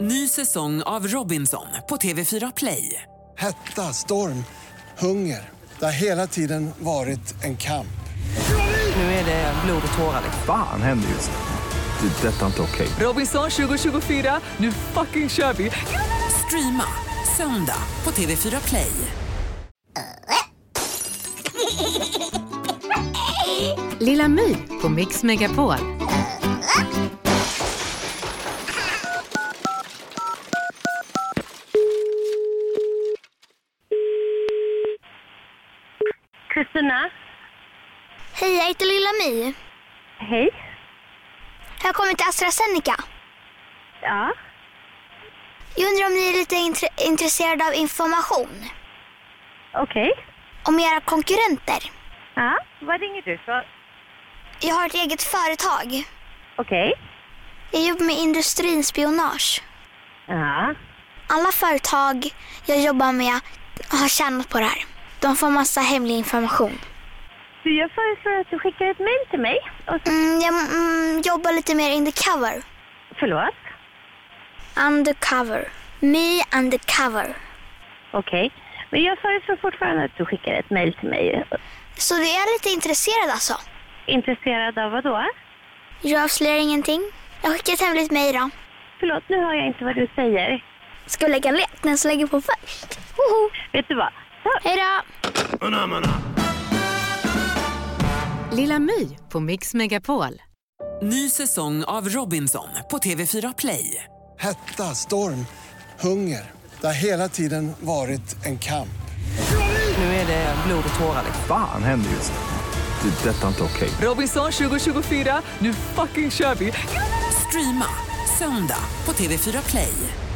Ny säsong av Robinson på TV4 Play. Hetta, storm, hunger. Det har hela tiden varit en kamp. Nu är det blod och tårar. liksom. Fan händer just nu. Det. är Detta är inte okej. Robinson 2024, nu fucking kör vi! Streama söndag på TV4 Play. Lilla My på Mix Megapol. Kristina? Hej, jag heter Lilla My. Hej. Jag har kommit till AstraZeneca. Ja. Jag undrar om ni är lite intre- intresserade av information Okej. om era konkurrenter. Ja. Vad ringer du för? Jag har ett eget företag. Okej. Jag jobbar med industrispionage. Ja. Alla företag jag jobbar med har tjänat på det här. De får massa hemlig information. Du, jag föreslår att du skickar ett mejl till mig. Och, Mm, jag mm, jobbar lite mer undercover. förlåt? Undercover. Me undercover. Okej. Men jag föreslår fortfarande att du skickar ett mejl till mig. Så du är lite intresserad alltså? Intresserad av vad då? Jag avslöjar ingenting. Jag skickar ett hemligt mejl då. Förlåt, nu hör jag inte vad du säger. Ska vi lägga en lek? Den som lägger på först. Hoho. Vet du vad? Ta- Hej då! Lilla My på Mix Megapol. Ny säsong av Robinson på TV4 Play. Hetta, storm, hunger. Det har hela tiden varit en kamp. Nu är det blod och tårar. Fan händer just nu. Det. är Detta är inte okej. Robinson 2024, nu fucking kör vi! Streama söndag på TV4 Play.